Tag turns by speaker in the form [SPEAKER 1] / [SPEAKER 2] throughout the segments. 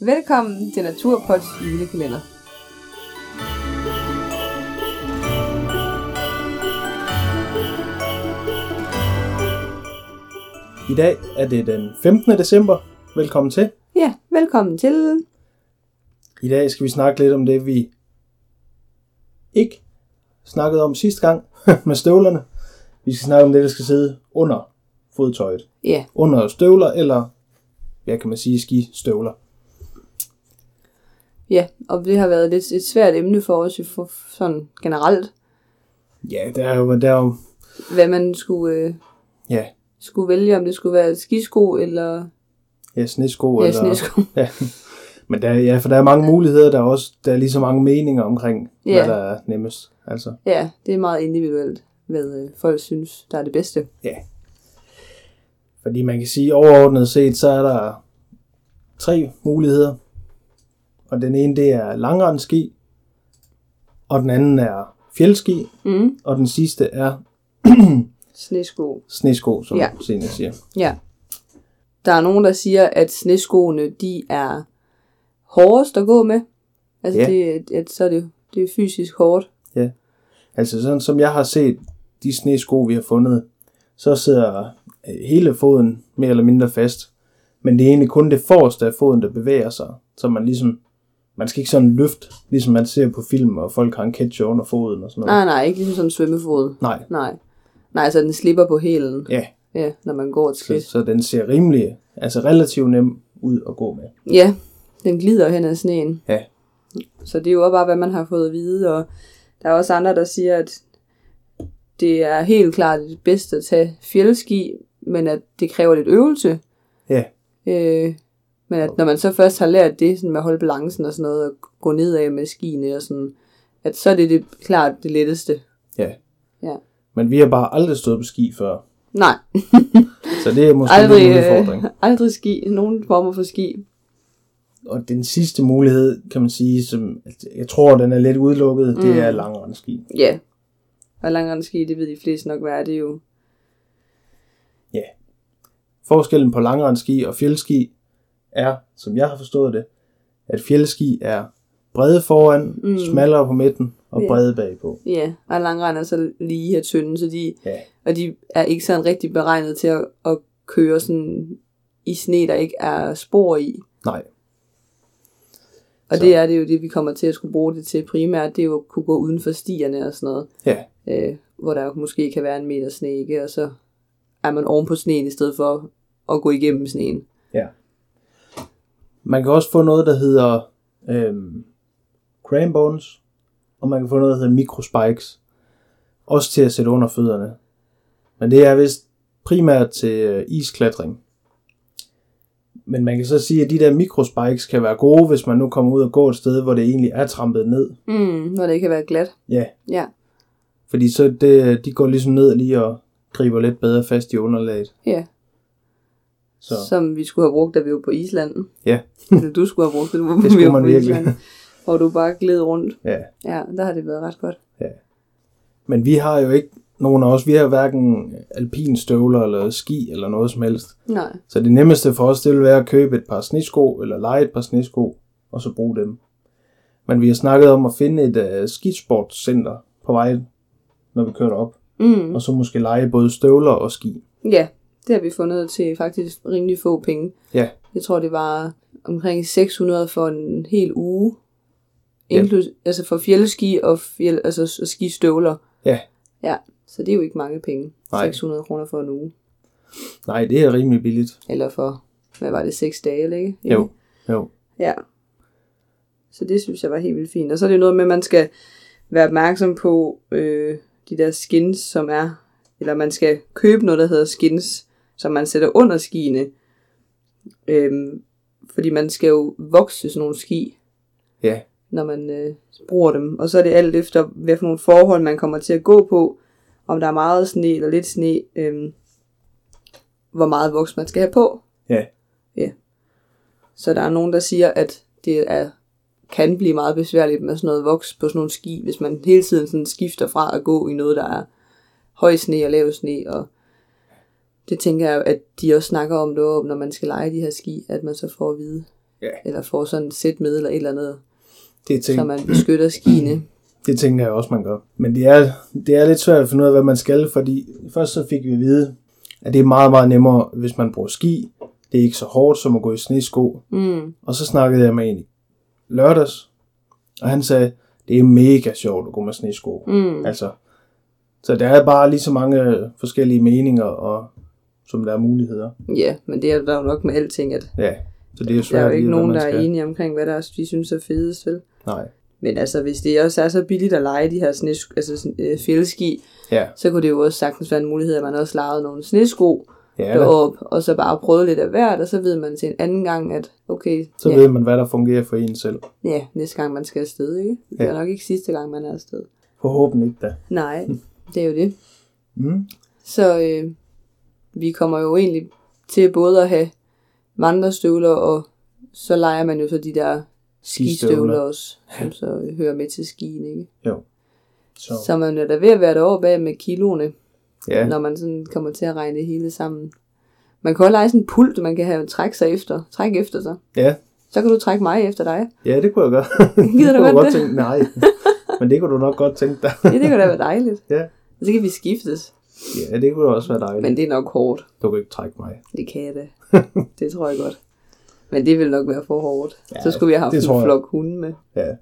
[SPEAKER 1] Velkommen til Naturpods julekalender.
[SPEAKER 2] I dag er det den 15. december. Velkommen til.
[SPEAKER 1] Ja, velkommen til.
[SPEAKER 2] I dag skal vi snakke lidt om det, vi ikke snakkede om sidste gang med støvlerne. Vi skal snakke om det, der skal sidde under fodtøjet.
[SPEAKER 1] Ja,
[SPEAKER 2] Under støvler eller, hvad kan man sige, skistøvler.
[SPEAKER 1] ja, og det har været lidt et svært emne for os jo for, sådan generelt,
[SPEAKER 2] Ja, der er jo, der er jo
[SPEAKER 1] hvad man skulle, øh,
[SPEAKER 2] ja,
[SPEAKER 1] skulle vælge, om det skulle være skisko eller
[SPEAKER 2] ja, snesko.
[SPEAKER 1] ja,
[SPEAKER 2] eller,
[SPEAKER 1] snesko.
[SPEAKER 2] Ja. Men der, ja, for der er mange muligheder, der er også der er lige så mange meninger omkring, ja.
[SPEAKER 1] Ja.
[SPEAKER 2] hvad der er nemmest. Altså,
[SPEAKER 1] Ja, det er meget individuelt, hvad øh, folk synes, der er det bedste.
[SPEAKER 2] Ja. Fordi man kan sige, overordnet set, så er der tre muligheder. Og den ene, det er langrendski. Og den anden er fjeldski.
[SPEAKER 1] Mm.
[SPEAKER 2] Og den sidste er
[SPEAKER 1] Snesko.
[SPEAKER 2] snesko, som
[SPEAKER 1] Ja.
[SPEAKER 2] ja. Signe siger.
[SPEAKER 1] Ja. Der er nogen, der siger, at sneskoene, de er hårdest at gå med. Altså,
[SPEAKER 2] Ja.
[SPEAKER 1] det, at, så er det, det er fysisk hårdt.
[SPEAKER 2] Altså sådan som jeg har set de snesko, vi har fundet, så sidder øh, hele foden mere eller mindre fast. Men det er egentlig kun det forreste af foden, der bevæger sig. Så man ligesom, man skal ikke sådan løfte, ligesom man ser på film, og folk har en ketchup under foden og sådan noget.
[SPEAKER 1] Nej, nej, ikke ligesom sådan en svømmefod.
[SPEAKER 2] Nej,
[SPEAKER 1] Nej. Nej, så den slipper på hælen,
[SPEAKER 2] ja,
[SPEAKER 1] ja, når man går et
[SPEAKER 2] så,
[SPEAKER 1] skridt.
[SPEAKER 2] så den ser rimelig, altså relativt nem ud at gå med.
[SPEAKER 1] Ja, den glider hen ad sneen.
[SPEAKER 2] Ja.
[SPEAKER 1] Så det er jo også bare, hvad man har fået at vide, og der er også andre, der siger, at det er helt klart det bedste at tage fjeldski, men at det kræver lidt øvelse.
[SPEAKER 2] Ja,
[SPEAKER 1] Øh, men at når man så først har lært det sådan med at holde balancen og sådan noget, og gå nedad med skiene og sådan, at så er det, det klart det letteste.
[SPEAKER 2] ja.
[SPEAKER 1] Ja.
[SPEAKER 2] Men vi har bare aldrig stået på ski før,
[SPEAKER 1] Nej,
[SPEAKER 2] så det er måske
[SPEAKER 1] aldrig,
[SPEAKER 2] aldrig, en udfordring.
[SPEAKER 1] øh, aldrig ski, nogen former for ski.
[SPEAKER 2] Og den sidste mulighed, kan man sige, som altså, jeg tror, den er lidt udelukket, mm. det er langrendski.
[SPEAKER 1] Ja. Og langrendski, det ved de fleste nok, hvad er det er jo.
[SPEAKER 2] Forskellen på langrendski og fjeldski er, som jeg har forstået det, at fjeldski er brede foran,
[SPEAKER 1] Mm.
[SPEAKER 2] mm. smallere på midten og
[SPEAKER 1] Ja.
[SPEAKER 2] brede bagpå.
[SPEAKER 1] Ja, og langrend er så lige og tynde, så de,
[SPEAKER 2] Ja,
[SPEAKER 1] og de er ikke sådan rigtig beregnet til at, at køre sådan i sne, der ikke er spor i.
[SPEAKER 2] nej.
[SPEAKER 1] Og
[SPEAKER 2] Så.
[SPEAKER 1] det er det jo det, vi kommer til at skulle bruge det til primært, det er jo at kunne gå uden for stierne og sådan noget,
[SPEAKER 2] Ja,
[SPEAKER 1] øh, hvor der måske kan være en meter sne, ikke? og så er man oven på sneen i stedet for at gå igennem sneen.
[SPEAKER 2] Ja. Man kan også få noget, der hedder øhm, crambones, og man kan få noget, der hedder microspikes, også til at sætte under fødderne. Men det er vist primært til øh, isklatring. Men man kan så sige, at de der microspikes kan være gode, hvis man nu kommer ud og går et sted, hvor det egentlig er trampet ned.
[SPEAKER 1] Mm, når det ikke kan være glat.
[SPEAKER 2] Ja,
[SPEAKER 1] Ja,
[SPEAKER 2] fordi så det, de går ligesom ned lige og griber lidt bedre fast i underlaget.
[SPEAKER 1] ja.
[SPEAKER 2] Så
[SPEAKER 1] Som vi skulle have brugt, da vi var på Island.
[SPEAKER 2] ja,
[SPEAKER 1] Eller du skulle have brugt det, hvor
[SPEAKER 2] Det skulle
[SPEAKER 1] vi var
[SPEAKER 2] man
[SPEAKER 1] på
[SPEAKER 2] virkelig.
[SPEAKER 1] Island, Hvor du bare gled rundt.
[SPEAKER 2] ja.
[SPEAKER 1] Ja, der har det været ret godt.
[SPEAKER 2] Men vi har jo ikke nogen af os, vi har hverken alpinstøvler eller ski eller noget som helst.
[SPEAKER 1] Nej,
[SPEAKER 2] Så det nemmeste for os, det vil være at købe et par snesko eller lege et par snesko og så bruge dem. Men vi har snakket om at finde et uh, skisportscenter på vej, når vi kører op,
[SPEAKER 1] Mm.
[SPEAKER 2] og så måske lege både støvler og ski.
[SPEAKER 1] ja, det har vi fundet til faktisk rimelig få penge.
[SPEAKER 2] Ja,
[SPEAKER 1] Jeg tror, det var omkring 600 for en hel uge.
[SPEAKER 2] Ja.
[SPEAKER 1] Inklus, altså for fjeldski og, fjeld, altså, s- og skistøvler.
[SPEAKER 2] ja.
[SPEAKER 1] Ja, så det er jo ikke mange penge.
[SPEAKER 2] Nej.
[SPEAKER 1] 600 kroner for en uge.
[SPEAKER 2] Nej, det er rimelig billigt.
[SPEAKER 1] Eller for, hvad var det, 6 dage, eller ikke?
[SPEAKER 2] Jo, jo.
[SPEAKER 1] Ja. Så det synes jeg var helt vildt fint. Og så er det jo noget med, at man skal være opmærksom på øh, de der skins, som er, eller man skal købe noget, der hedder skins, som man sætter under skiene. Øhm, fordi man skal jo vokse sådan nogle ski,
[SPEAKER 2] Ja,
[SPEAKER 1] når man øh, bruger dem. Og så er det alt efter, hvad for nogle forhold man kommer til at gå på. Om der er meget sne eller lidt sne. Øhm, hvor meget voks man skal have på.
[SPEAKER 2] ja,
[SPEAKER 1] Så der er nogen, der siger, at det er, kan blive meget besværligt med sådan noget voks på sådan nogle ski, hvis man hele tiden sådan skifter fra at gå i noget, der er høj sne og lav sne. Og det tænker jeg, at de også snakker om deroppe, når man skal lege de her ski, at man så får at vide,
[SPEAKER 2] Ja.
[SPEAKER 1] Eller får sådan et sæt med, eller et eller andet,
[SPEAKER 2] Det,
[SPEAKER 1] så
[SPEAKER 2] tænk,
[SPEAKER 1] man beskytter skiene.
[SPEAKER 2] det tænker jeg også, man gør. Men det er, det er lidt svært at finde ud af, hvad man skal, fordi først så fik vi at vide, at det er meget, meget nemmere, hvis man bruger ski. Det er ikke så hårdt som at gå i snesko.
[SPEAKER 1] Mm.
[SPEAKER 2] Og så snakkede jeg med en i lørdags, og han sagde, det er mega sjovt at gå med snesko.
[SPEAKER 1] Mm.
[SPEAKER 2] Altså, så der er bare lige så mange øh, forskellige meninger, og, som der er muligheder.
[SPEAKER 1] Ja, men det er der jo nok med alting, at
[SPEAKER 2] Ja, så det er jo
[SPEAKER 1] der
[SPEAKER 2] svært
[SPEAKER 1] er jo ikke
[SPEAKER 2] lige,
[SPEAKER 1] nogen,
[SPEAKER 2] hvad
[SPEAKER 1] der
[SPEAKER 2] man
[SPEAKER 1] er
[SPEAKER 2] skal.
[SPEAKER 1] enige omkring, hvad der er, de synes er fedest, vel?
[SPEAKER 2] Nej,
[SPEAKER 1] Men altså, hvis det også er så billigt at lege de her snes, altså, sådan, øh, fjeldeski,
[SPEAKER 2] ja.
[SPEAKER 1] så kunne det jo også sagtens være en mulighed, at man også legede nogle snesko
[SPEAKER 2] ja da.
[SPEAKER 1] derop, og så bare prøvede lidt af hvert, og så ved man til en anden gang, at okay,
[SPEAKER 2] Så
[SPEAKER 1] ja,
[SPEAKER 2] ved man, hvad der fungerer for en selv.
[SPEAKER 1] ja, næste gang man skal afsted, ikke? Det er
[SPEAKER 2] Ja.
[SPEAKER 1] nok ikke sidste gang, man er afsted.
[SPEAKER 2] Forhåbentlig ikke da.
[SPEAKER 1] Nej, det er jo det.
[SPEAKER 2] Mm.
[SPEAKER 1] Så øh, vi kommer jo egentlig til både at have vandrestøvler, og så leger man jo så de der skistøvler også, som så øh, hører med til skien, ikke?
[SPEAKER 2] Jo. Så,
[SPEAKER 1] Så man er da ved at være derovre bag med kiloene,
[SPEAKER 2] ja.
[SPEAKER 1] når man sådan kommer til at regne det hele sammen. Man kan også lege sådan en pult, man kan have træk sig efter. Træk efter sig.
[SPEAKER 2] ja.
[SPEAKER 1] Så kan du trække mig efter dig.
[SPEAKER 2] Ja, det kunne jeg gøre.
[SPEAKER 1] Gider du
[SPEAKER 2] kunne
[SPEAKER 1] godt
[SPEAKER 2] jeg godt
[SPEAKER 1] det?
[SPEAKER 2] tænke, nej. Men det kunne du nok godt tænke dig.
[SPEAKER 1] Ja, det kan da være dejligt.
[SPEAKER 2] Ja.
[SPEAKER 1] Og så kan vi skiftes.
[SPEAKER 2] Ja, det kunne også være dejligt.
[SPEAKER 1] Men det er nok hårdt.
[SPEAKER 2] Du kan ikke trække mig.
[SPEAKER 1] Det kan jeg da. Det tror jeg godt. Men det vil nok være for hårdt.
[SPEAKER 2] Ja,
[SPEAKER 1] Ja, så skulle vi have haft
[SPEAKER 2] det tror
[SPEAKER 1] en
[SPEAKER 2] jeg.
[SPEAKER 1] flok hunde med.
[SPEAKER 2] Ja.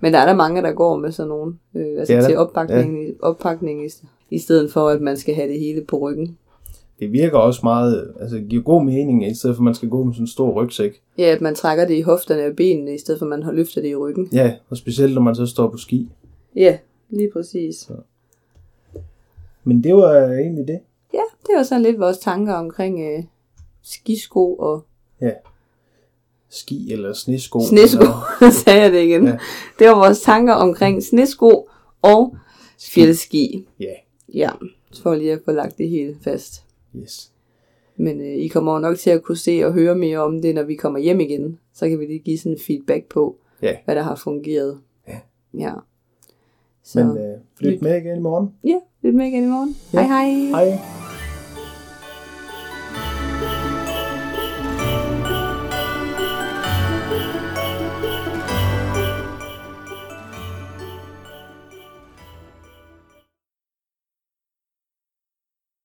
[SPEAKER 1] Men der er der mange, der går med sådan nogen. Øh, altså
[SPEAKER 2] Ja,
[SPEAKER 1] ja,
[SPEAKER 2] da.
[SPEAKER 1] til oppakning, ja. oppakning i, i stedet for, at man skal have det hele på ryggen.
[SPEAKER 2] Det virker også meget, altså det giver god mening, i stedet for at man skal gå med sådan en stor rygsæk.
[SPEAKER 1] Ja, at man trækker det i hofterne og benene, i stedet for at man har løfter det i ryggen.
[SPEAKER 2] Ja, og specielt når man så står på ski.
[SPEAKER 1] Ja, lige præcis.
[SPEAKER 2] Men det var øh, egentlig det.
[SPEAKER 1] Ja, det var sådan lidt vores tanker omkring øh, skisko og
[SPEAKER 2] Ski eller snesko.
[SPEAKER 1] snesko,
[SPEAKER 2] Eller,
[SPEAKER 1] sagde jeg det igen.
[SPEAKER 2] Ja.
[SPEAKER 1] Ja. Det var vores tanker omkring snesko og fjeldski.
[SPEAKER 2] ja,
[SPEAKER 1] Ja, for lige at få lagt det hele fast.
[SPEAKER 2] yes.
[SPEAKER 1] Men øh, I kommer jo nok til at kunne se og høre mere om det, når vi kommer hjem igen. Så kan vi lige give sådan en feedback på,
[SPEAKER 2] Ja.
[SPEAKER 1] hvad der har fungeret.
[SPEAKER 2] Ja.
[SPEAKER 1] ja. Så
[SPEAKER 2] Men øh, flyt med igen i morgen.
[SPEAKER 1] ja, lyt med igen i morgen.
[SPEAKER 2] Ja.
[SPEAKER 1] Hej hej.
[SPEAKER 2] Hej.